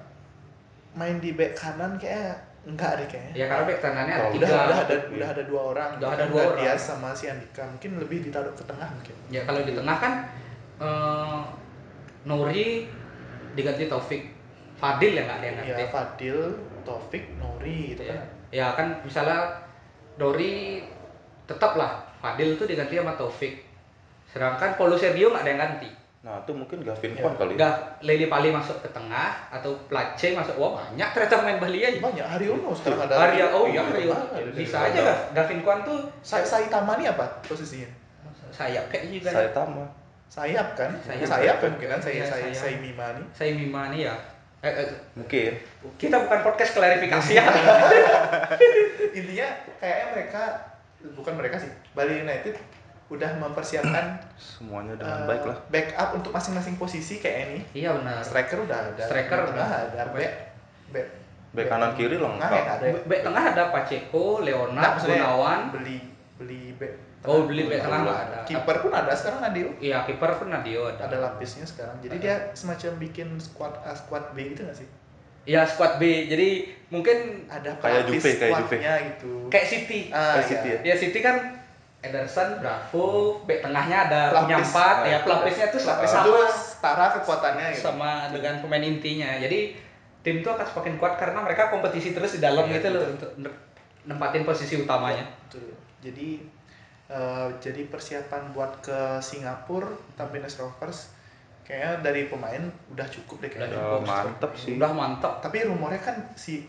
main di back kanan kayak enggak deh kayaknya.
Ya karena back kanannya ada
Kalau
udah
tiga.
Oh, udah ada udah ada dua orang
Udah ada
Kan
dua
udah
orang.
dia sama si Andika mungkin lebih ditaruh ke tengah mungkin
Ya kalau di tengah kan eh, Nori diganti Taufik, Fadil ya nggak ada yang
ya
ganti.
Fadil Taufik Nori gitu
Ya.
kan
Ya kan misalnya Nori tetaplah Fadil tuh diganti sama Taufik. Sedangkan Paulo Sergio nggak ada yang ganti.
Nah, itu mungkin Gavin
Ya,
Kwan kali. ya.
Udah Lili Pali masuk ke tengah atau Place masuk wah banyak ternyata main Bali aja.
banyak Haryono sekarang ada
Arya oh ya,
Haryono ada.
bisa aja Gav- Gavin Kwan tuh
Sa- Saitama ini apa posisinya
sayap kan. kayaknya juga.
Saya Tama.
sayap kan
Sayap.
sayap, kan mungkin kan saya
Iya,
saya
sayap.
saya Mima nih
Saya Mima nih ya. Eh, eh,
Mungkin. ya.
kita bukan podcast klarifikasi ya.
intinya kayaknya mereka bukan mereka sih Bali United udah mempersiapkan
Semuanya dengan
eh,
baik lah.
backup untuk masing-masing posisi kayak ini
iya benar.
striker udah ada
Striker
tengah
udah.
ada back back
Back kanan kiri
tengah
lengkap.
ya nggak ada ya?
Back tengah ada Pacheco,
Nah,
Leonard,
maksudnya
Gunawan.
beli beli back
Oh, beli back tengah nggak ada.
kiper pun ada sekarang Nadio
Iya, kiper pun Nadio
Ah.
ada
ada.
lapisnya sekarang jadi dia semacam bikin squad A squad B gitu nggak sih
Iya, squad B. Jadi mungkin
ada
Kayak
pelapis
Juve, kayak
squadnya gitu
kayak City.
ah,
kayak City
ya.
ya.
Ya City kan Ederson, Bravo, back tengahnya ada
Pelapis.
punya empat, ya
Ah,
pelapisnya tuh
Pelapis
sama
itu setara kekuatannya gitu
sama dengan pemain intinya. Jadi tim tuh akan semakin kuat karena mereka kompetisi terus di dalam gitu loh untuk ne- nempatin posisi utamanya.
Betul. Jadi eh, jadi persiapan buat ke Singapura Tampines Rovers kayaknya dari pemain udah cukup deh kayaknya.
Udah mantep sih.
Udah mantap.
Tapi rumornya kan si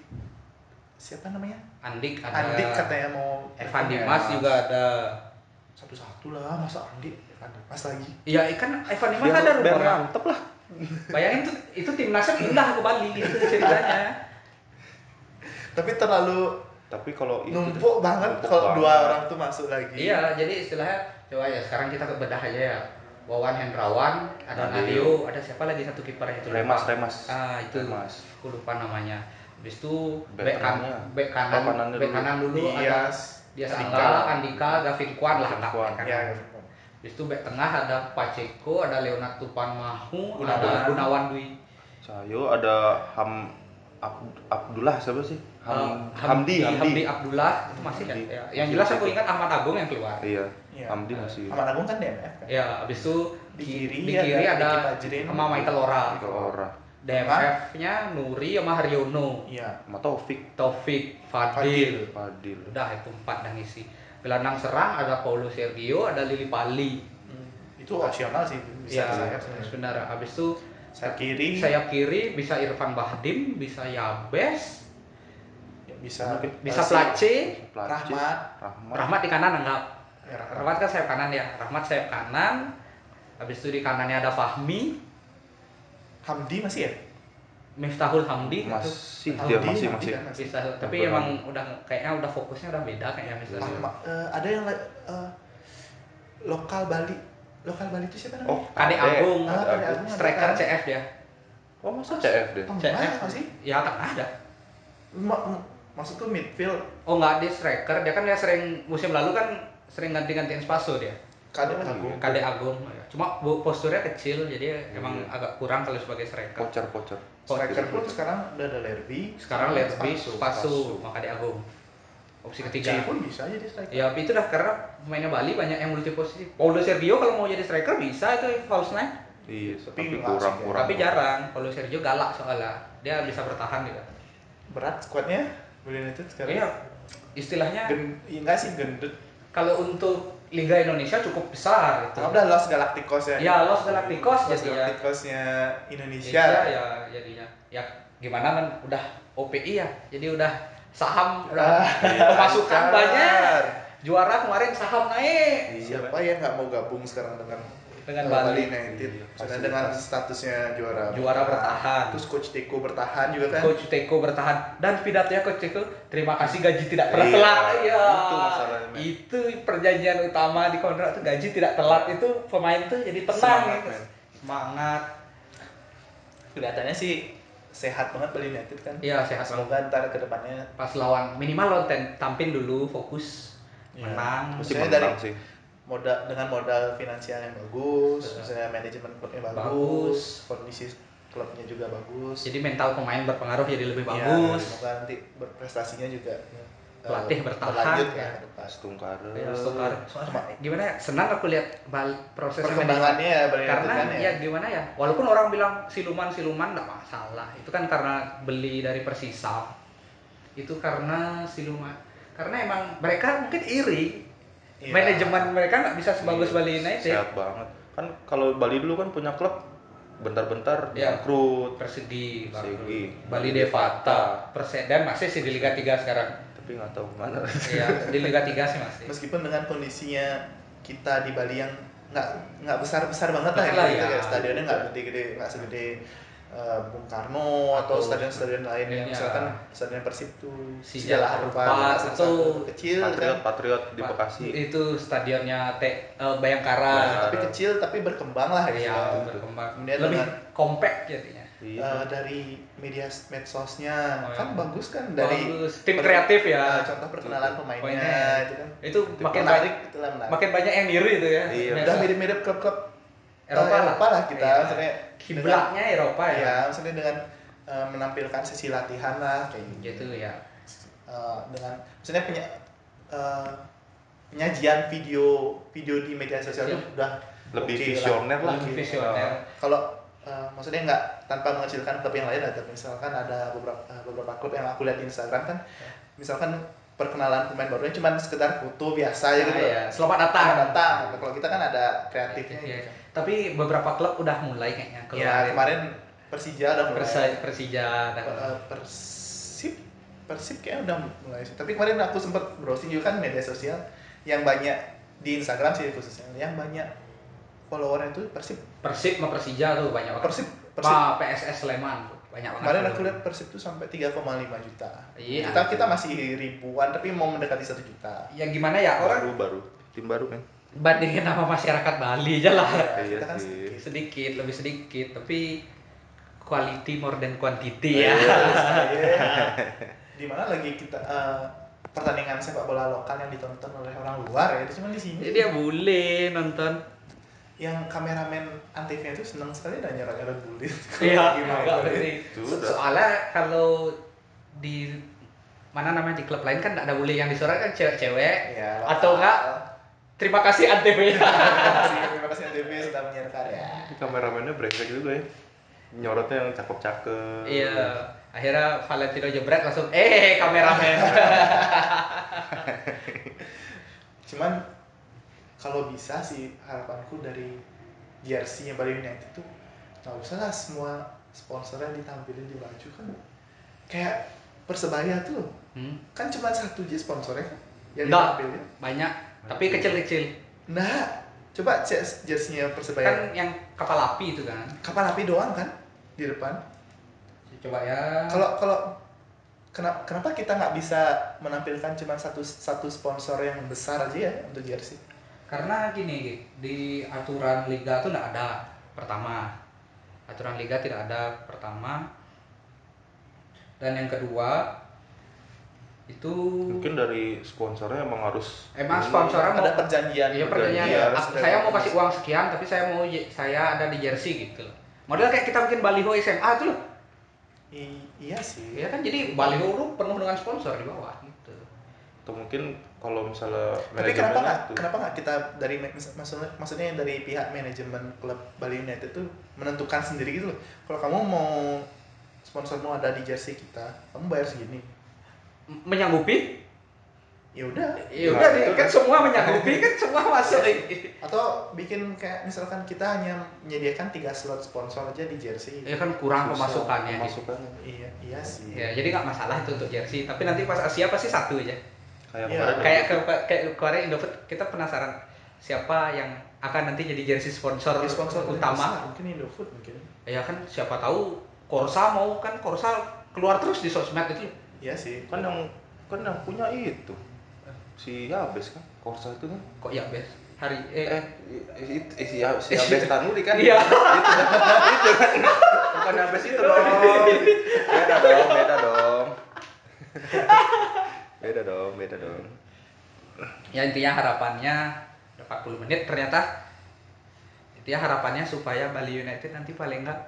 siapa namanya?
Andik ada.
Andik katanya mau
Evan
datang ya.
Dimas juga ada.
satu-satu lah masa Andi Mas lagi
Ya kan Evan Iman
biar,
ada
biar
rumah.
mantep lah
Bayangin tuh itu timnasnya pindah ke Bali gitu ceritanya.
tapi terlalu
tapi kalau itu
numpuk banget
Iya, numpuk
kalau dua
banget.
orang tuh masuk lagi
iya, jadi istilahnya coba ya sekarang kita bedah aja ya. Wawan Hendrawan, ada
Nadio.
Nadio, ada siapa lagi satu kiper itu
remas
lupa.
remas
Ah, itu.
remas
Aku lupa namanya. Habis itu
Back
back, kan-
kanannya.
back
Oh,
kanan,
kanannya
back
dulu.
kanan dulu ada
Dias
dia
Andika.
Sangga, Andika, Gavin Kwan lah
Gavin
enggak
Kwan,
back kanan.
ya
Habis itu back tengah ada Pacheco, ada Leonard Tupan Mahu,
Gunawan.
ada Gunawan Dwi.
Sayo ada Ham Ab- Abdullah siapa sih? Ham,
Eh,
Hamdi, Hamdi,
Abdullah itu masih ya,
Hamdi.
ya. Yang jelas
Masih
aku
masih.
ingat Ahmad Agung yang keluar.
Iya,
Iya.
Hamdi masih.
Aman Agung kan DMF kan
Ya, habis itu
Di
ki-
kiri
di
ada
kiri
Ricky
ada
Fajrin.
sama Michael Lora.
Orang
DMF-nya Nuri sama Haryono,
iya
sama Taufik,
Taufik, Fadil.
Fadil.
Fadil.
Udah itu empat yang isi. Gelandang serang ada Paulo Sergio, ada Lili Pali.
Hmm. itu opsional sih bisa
Ya,
saya
sebenarnya. Habis itu
saya kiri
sayap kiri bisa Irfan Bahdim, bisa Yabes,
ya bisa
bisa Place.
Persi-
Placis,
Rahmat.
Rahmat.
Rahmat di kanan enggak?
ya, Rahmat.
Rahmat kan sayap kanan ya. Rahmat sayap kanan. Habis itu di kanannya ada Fahmi,
Hamdi masih ya
Miftahul Hamdi gitu.
Masih dia
Hamdi,
Iya, masih
Hamdi
masih.
kan masih.
bisa tapi
Yang
emang udah kayaknya udah fokusnya udah beda kayaknya misalnya
Ahmad, eh, ada yang la- eh, lokal Bali lokal Bali itu siapa namanya
Oh,
Kade Agung
Ah, Kade Agung.
striker CF dia
Oh, masa CF deh.
Pemain apa sih?
ya kan ada
Ma- ma- maksudku midfield
oh nggak dia striker dia kan dia sering musim lalu kan sering ganti-gantiin Spaso dia
kadang
Oh,
aku
iya.
Kade Agung ya. cuma bu- posturnya kecil jadi emang
Iya.
agak kurang kalau sebagai striker
Pocher, pocher.
Hmm. striker pun
Pocher.
sekarang udah ada Lerby
Oh, sekarang Lerby
Spaso.
Spaso.
Spaso sama Kade Agung opsi
C
ketiga
pun bisa jadi striker
ya tapi itu dah karena pemainnya Bali banyak yang multi posisi Paulo Sergio kalau mau jadi striker bisa itu false nine
Iya,
Tapi
tapi
nggak
kurang
asik ya.
kurang.
tapi jarang Paulo Sergio galak soalnya dia bisa bertahan gitu
berat skuadnya Bali United sekarang
Iya. Istilahnya
Gen- iya enggak sih gendut
kalau untuk Liga Indonesia cukup besar gitu.
Kalau udah Los Galacticos ya
Ya, Los Galacticos
Los
jadinya.
Galacticosnya Indonesia
Indonesia ya jadinya. Ya gimana kan udah OPI ya. Jadi udah saham udah pemasukan
lancar.
banyak. Juara kemarin saham naik
Iya, siapa yang nggak mau gabung sekarang dengan
dengan
eh,
Bali.
United
Iya,
karena
fasilitas.
dengan statusnya juara
Juara bertahan.
terus coach Teko bertahan juga kan
Coach Teko bertahan dan pidatonya Coach Teko terima kasih gaji tidak pernah
Iya,
telat. Iya.
itu masalahnya, men.
Itu perjanjian utama di kontrak tuh gaji tidak telat itu pemain tuh jadi tenang
Semangat,
gitu.
men.
Semangat.
kelihatannya sih sehat banget Bali United kan
Iya, sehat banget.
semoga ntar kedepannya
pas lawan minimal lawan Ten- tampil dulu fokus
Iya.
menang
Mesti
Maksudnya
menang
dari-
sih.
modal dengan modal finansial yang bagus,
Betul.
misalnya manajemen klubnya bagus,
Iya. Bagus.
kondisi klubnya juga bagus.
jadi mental pemain berpengaruh jadi Iya, lebih
Ya,
bagus
semoga nanti berprestasinya juga eh,
Pelatih bertahan,
berlanjut
ya.
ya. ke depan.
Stungkare.
Ya, Stokar. Soalnya gimana ya senang aku lihat bal proses
Perkembangannya ya Bali United
karena
kan
ya. gimana ya walaupun orang bilang siluman siluman nggak masalah itu kan karena beli dari Persisam itu karena siluman karena emang mereka mungkin iri
Iya.
manajemen mereka nggak bisa sebagus
Iya,
Bali United
Sehat banget. Kan kalau Bali dulu kan punya klub bentar-bentar
Iya.
bangkrut,
Persegi,
Persegi.
Bali Devata, Persedan masih sih di Liga 3 sekarang.
tapi nggak tahu mana.
Iya, di Liga 3 sih masih.
Meskipun dengan kondisinya kita di Bali yang nggak nggak besar besar banget lah,
Betul
gitu
lah,
ya.
ya.
stadionnya nggak gede-gede nggak segede eh, Bung Karno atau
Atau
stadion-stadion lain yang
iya.
misalkan stadion Persib tuh
Sijalak Harupat, atau Iya,
kecil kan
Patriot, Patriot di Bekasi.
Itu stadionnya T eh, Bayangkara.
Nah, tapi kecil tapi berkembang lah gitu.
Iya,
ya.
berkembang.
Kemudian
Lebih
dengan-
compact jadinya.
Eh,
Iya.
dari media medsosnya
Oh,
kan
ya.
bagus kan dari
Bagus. tim
per-
kreatif ya.
eh, contoh perkenalan pemainnya
Pemainnya.
itu kan
Itu makin
menarik
banyak
itulah menarik
makin banyak yang niru itu ya.
Iya.
Medsos.
udah mirip-mirip klub-klub eh,
Eropa,
Eropa lah kita
Iya.
maksudnya dengan,
Kiblatnya Eropa ya.
ya maksudnya dengan eh, menampilkan sesi latihan lah kayak
Gitu ya.
Eh, dengan maksudnya punya eh, penyajian video video di media sosial itu udah
Lebih
oke lah.
visioner lah.
Lebih
Oke.
Iya. visioner.
kalau eh, maksudnya nggak tanpa mengecilkan klub yang lain lah, tapi misalkan ada beberapa eh, beberapa klub yang aku lihat di Instagram kan misalkan perkenalan pemain barunya cuma sekedar foto biasa aja
Nah,
gitu
iya. Selamat datang.
datang datang Nah, kalau kita kan ada kreatifnya
Iya.
gitu.
Tapi beberapa klub udah mulai kayaknya
ya kemarin Persija udah mulai
Persa- Persija udah
Per- eh, Persib Persib kayaknya udah mulai sih tapi kemarin aku sempat browsing juga kan media sosial yang banyak di Instagram sih khususnya yang banyak followernya itu Persib
Persib sama Persija tuh banyak banget.
Persib Persib
Sama PSS Sleman banyak banget.
kemarin aku lihat Persib tuh sampai 3,5 juta
Iya.
kita kita masih ribuan tapi mau mendekati satu juta
ya gimana ya orang
baru baru tim baru kan
bandingin sama masyarakat Bali aja lah.
Iya
kita kan
sih.
sedikit
Sedikit lebih sedikit tapi quality more than quantity ya.
Iya, di mana lagi kita eh, pertandingan sepak bola lokal yang ditonton oleh orang luar ya itu cuma di sini
Jadi ya boleh nonton.
yang kameramen antv itu senang sekali dan nyorot nyorot bulit
Iya,
Gimana ya?
nggak
itu?
ngerti.
Sudah.
Soalnya kalau di mana namanya di klub lain kan nggak ada boleh yang disorot kan cewek-cewek.
Ya,
Atau enggak? Terima kasih Antv.
Iya. terima kasih antv sudah menyiarkan ya
kameramennya brengsek juga ya nyorotnya yang cakep-cakep
Iya. Akhirnya Valentino jebret langsung eh kameramen.
cuman kalau bisa sih harapanku dari jersey yang paling United itu nggak usah lah semua sponsornya ditampilin di baju kan kayak persebaya tuh
Hmm,
kan cuma satu aja sponsornya kan yang
Nggak.
ditampilin
banyak tapi kecil-kecil.
nah coba cek jersey-nya persebaya
Kan yang kapal api itu kan.
kapal api doang kan di depan
Coba ya.
kalau kalau kenapa kenapa kita nggak bisa menampilkan cuma satu satu sponsor yang besar aja ya untuk jersey
Karena gini, di aturan liga tuh nggak ada pertama. Aturan liga tidak ada pertama. Dan yang kedua itu
mungkin dari sponsornya emang harus
emang
ini.
sponsornya
ada
mau
perjanjian
Iya pertanyaannya,
Iya,
"Ah, saya mau kasih uang sekian tapi saya mau je- saya ada di jersey gitu loh. Model kayak kita bikin baliho SMA tuh loh.
I- iya sih
Ya kan jadi baliho itu penuh dengan sponsor di bawah gitu.
atau mungkin kalau misalnya
Tapi kenapa
manajemennya
nggak
tuh-
kenapa nggak kita dari ma- mis- maksudnya maksudnya dari pihak manajemen klub Bali United itu menentukan sendiri gitu loh. Kalau kamu mau sponsormu ada di jersey kita, kamu bayar segini.
M- Menyanggupi?
Ya udah.
Ya
Nah,
udah
itu
deh, kan
kan.
semua menyanggupi kan semua masuk.
Atau bikin kayak misalkan kita hanya menyediakan tiga slot sponsor aja di jersey.
Ya kan kurang
susah
pemasukannya. gitu.
pemasukannya.
Iya iya sih.
Ya, jadi nggak masalah itu untuk jersey, tapi nanti pas Asia pasti satu aja.
kayak
Iya.
kemarin kan
Kayak ke kayak kemarin Indofood kita penasaran siapa yang akan nanti jadi jersey sponsor
Kalau sponsor
utama.
besar, mungkin Indofood mungkin.
Ya kan siapa tahu Korsa mau kan Korsa keluar terus di sosmed itu.
Iya sih.
kan yang kan yang punya itu si Yabes kan Korsa itu kan
Kok ya bes? Hari eh,
eh i- i- si Yabes, si Yabes Tanuri kan
Iya.
itu itu kan bukan Yabes itu dong beda dong beda dong beda dong beda dong
ya intinya harapannya udah 40 menit ternyata intinya harapannya supaya Bali United nanti paling enggak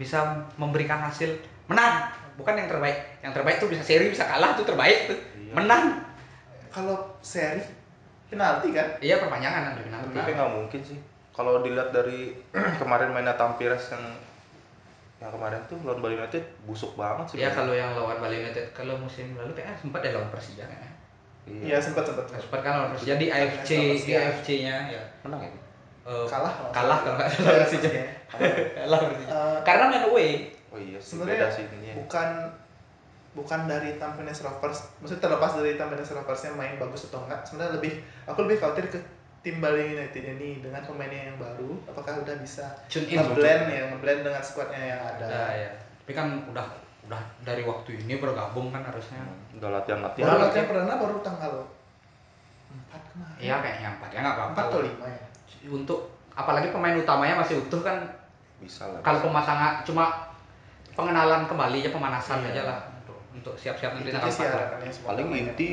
bisa memberikan hasil menang bukan yang terbaik yang terbaik tuh bisa seri bisa kalah tuh terbaik tuh
Iya.
menang
Kalau seri penalti kan?
iya perpanjangan nanti menang
tapi nggak mungkin sih kalau dilihat dari kemarin mainnya Tampiras yang yang kemarin tuh lawan Bali United busuk banget sih
ya kalau yang lawan Bali United kalau musim lalu kayaknya sempat ya lawan Persija kan
Iya sempat sempat.
sempat kan lawan Persija di AFC di AFC nya ya
menang ya
eh,
Kalah.
kalah kalau nggak salah
Iya,
Persija
iya.
kalah Persija
Eh,
karena E, main away
oh iya sih beda
sebenarnya
sih ini
bukan bukan dari Tampines Rovers maksudnya terlepas dari Tampines Roversnya main bagus atau enggak sebenarnya lebih aku lebih khawatir ke tim Bali United ini dengan pemainnya yang baru apakah udah bisa
tune in
ngeblend ya ngeblend dengan squadnya yang ada
Ada ya. Tapi kan udah udah dari waktu ini bergabung kan harusnya.
Hmm, udah latihan latihan
baru latihan perdana baru tanggal 4 kemarin
Iya kayaknya empat ya nggak apa-apa.
4 atau 5 ya
Untuk apalagi pemain utamanya masih utuh kan.
bisa lah
Kalau pematangan cuma pengenalan kembali aja pemanasan
Iya.
aja lah untuk untuk siap-siap nanti
itu
tanggal
aja sih
Kan
ya.
empat.
harapannya semua
paling
pemain.
inti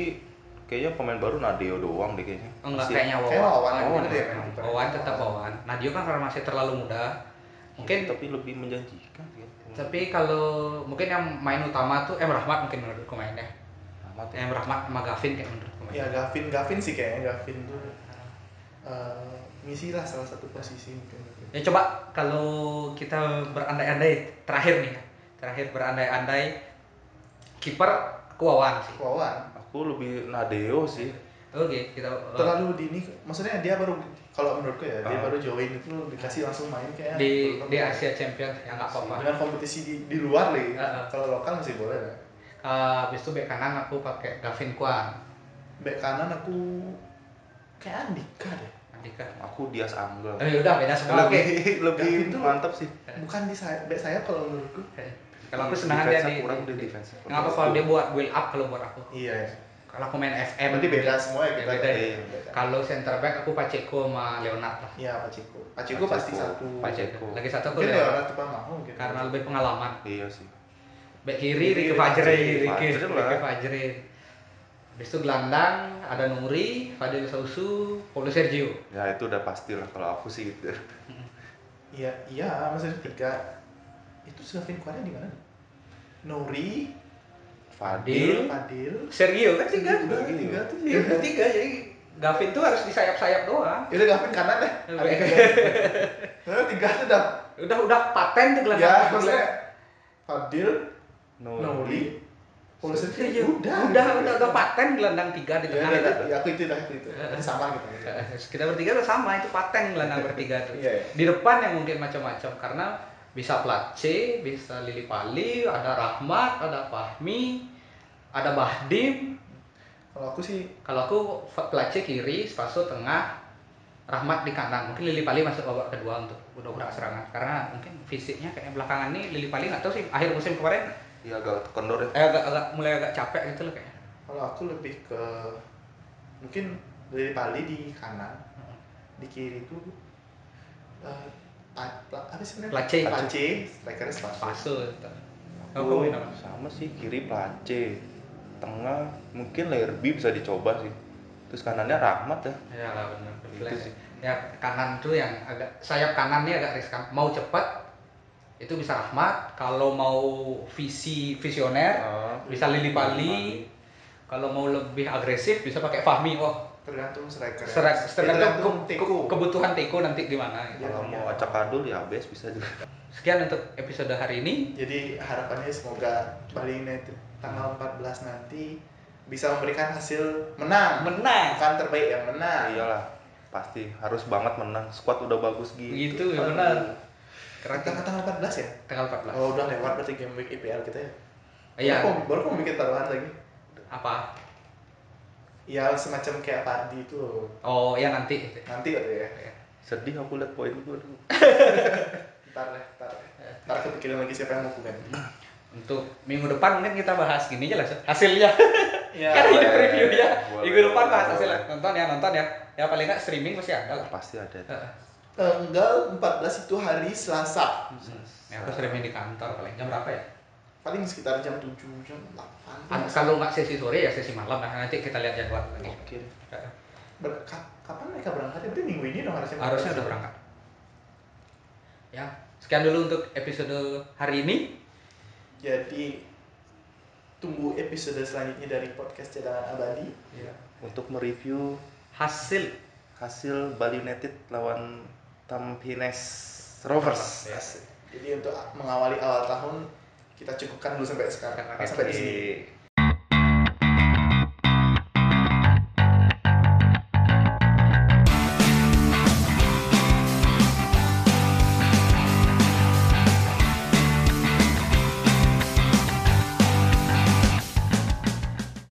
kayaknya pemain baru Nadeo doang deh kayaknya
Oh, Enggak
Masih-
kayaknya Wawan.
Kayaknya Wawan
Wawan,
gitu ya,
Wawan.
kan?
Wawan tetap Wawan. Nadio kan karena masih terlalu muda. Mungkin
Gitu.
tapi lebih menjanjikan ya
tapi kalau mungkin yang main utama tuh M Rahmat mungkin menurut mainnya.
amat ya
M Rahmat sama Gavin kayak menurut pemain.
ya Gavin Gavin sih kayaknya Gavin tuh eh, misilah salah satu posisi mungkin Gavin.
Ya coba kalau kita berandai-andai terakhir nih, terakhir berandai-andai kiper Wawan sih.
Wawan
aku lebih Nadeo sih
Oke, kita uh,
terlalu dini maksudnya dia baru kalau menurutku ya dia
Ah.
baru join itu dikasih langsung main kayak
eh, di di Asia Champions ya nggak apa-apa.
dengan kompetisi di, di luar lagi
Ah, ah.
kalau lokal masih boleh lah
Eh, habis itu bek kanan aku pakai Gavin Kwan.
back kanan aku kayak Andika deh
Andika.
Aku Dias Angga.
Eh, udah beda semua.
lebih
Oke.
lebih
Gavin tuh-
mantap sih.
bukan di saya back saya kalau menurutku
Kalau aku senang dia
Defense-nya
di.
kurang dia defense.
Kenapa kalau dia buat build up kalau buat aku?
iya ya
Kalau aku main
eh,
FM
berarti beda semua ya
Ya,
kita
beda ya.
beda.
Kalau center back aku Pacheco sama Leonard lah.
iya Paciko Paciko pasti satu
Pacheco.
Lagi satu aku
mungkin
Leonard
Leonard Tupa mau mungkin
ya. karena lebih pengalaman.
Iya sih.
Back kiri Ricky
Kiri,
Fajrin,
Fajrin,
Ricky
Fajrin lah.
Ricky Fajrin. Habis itu gelandang ada Nuri, Fadil Sausu, Paulo Sergio.
Ya itu udah pasti lah kalau aku sih gitu.
iya iya maksudnya tiga itu Sylvain Kuarnya di mana Nori
Fadil.
Fadil
Sergio kan tiga.
udah tiga tuh iya.
Ya, udah tiga jadi Gavin tuh harus di sayap-sayap doang.
ya udah Gavin kanan deh
Iya.
Karena tiga tuh udah
udah udah paten tuh
ya
gelandang.
maksudnya Fadil Nori Paulo
Sergio.
Sergio
Udah, iya, udah, udah, udah paten gelandang tiga di
ya,
tengah
udah,
itu.
udah. ya aku itu dah aku itu sama gitu
Eh, kita bertiga udah sama itu paten gelandang bertiga tuh.
Iya, iya.
Di depan yang mungkin macam-macam karena bisa plat C, bisa Lili Pali, ada Rahmat, ada Fahmi, ada Bahdim.
kalau aku sih
Kalau aku fa- plat C kiri, Spaso tengah, Rahmat di kanan. Mungkin Lili Pali masuk babak kedua untuk udah udah serangan karena mungkin fisiknya kayak belakangan nih Lili Pali nggak tahu sih akhir musim kemarin
Iya agak kendor ya.
eh, agak agak mulai agak capek gitu loh kayaknya.
kalau aku lebih ke mungkin dari Bali di kanan di kiri itu eh, pa- pa- apa sih namanya
Place.
Place striker Spaso
Spaso gitu. Aku
Aku
main apa?
sama sih kiri place. Tengah mungkin layer B bisa dicoba sih. Terus kanannya Rahmat ya.
Ya lah benar.
Itu
Flank.
sih.
Ya kanan tuh yang agak sayap kanan nih agak riskan. Mau cepat itu bisa Rahmat, kalau mau visi visioner
Ah,
bisa Oh. Lili Pali. Kalau mau lebih agresif bisa pakai Fahmi. Oh,
tergantung striker
serak tergantung ke-
Teko
ke- kebutuhan Teko nanti gimana. gitu.
Kalau mau acak adul ya abes bisa juga.
Sekian untuk episode hari ini.
jadi harapannya semoga Bali United tanggal 14 nanti bisa memberikan hasil menang
Menang. Iya.
bukan terbaik yang
Ah.
menang
Iyalah pasti harus banget menang. Squad udah bagus gitu.
Begitu ya benar. Keren
kita ke tanggal 14 ya
tanggal 14.
oh udah lewat berarti game week IPL kita ya
Iya.
Baru mau- baru mau bikin taruhan lagi
Apa?
ya semacam kayak party itu loh
Oh, ya nanti.
nanti kali ya
Iya.
Sedih aku liat poin gue. aduh.
ntar deh ntar deh ntar kepikiran lagi siapa yang mau kumen
Untuk minggu depan mungkin kita bahas gini aja lah, Sob. hasilnya.
ya
kan ini
boleh,
preview ya
boleh,
minggu depan bahas
boleh.
hasilnya nonton ya nonton ya ya paling nggak streaming masih ada lah
Nah, Pasti ada.
Heeh.
tanggal 14 itu hari Selasa
ya, aku streaming di kantor paling jam berapa ya
paling sekitar jam 7 jam 8
Ah, kalau nggak sesi sore ya sesi malam nah nanti kita lihat jadwal lagi
Oke.
Heeh.
Ber- ka- kapan mereka berangkat ya? berarti minggu ini dong harusnya
harusnya udah berangkat ya sekian dulu untuk episode hari ini
jadi tunggu episode selanjutnya dari podcast cadangan abadi
Untuk mereview
hasil
hasil Bali United lawan Tampines Rovers.
Ya.
Asik. jadi untuk mengawali awal tahun kita cukupkan dulu sampai sekarang
Oke.
sampai di sini
Oke.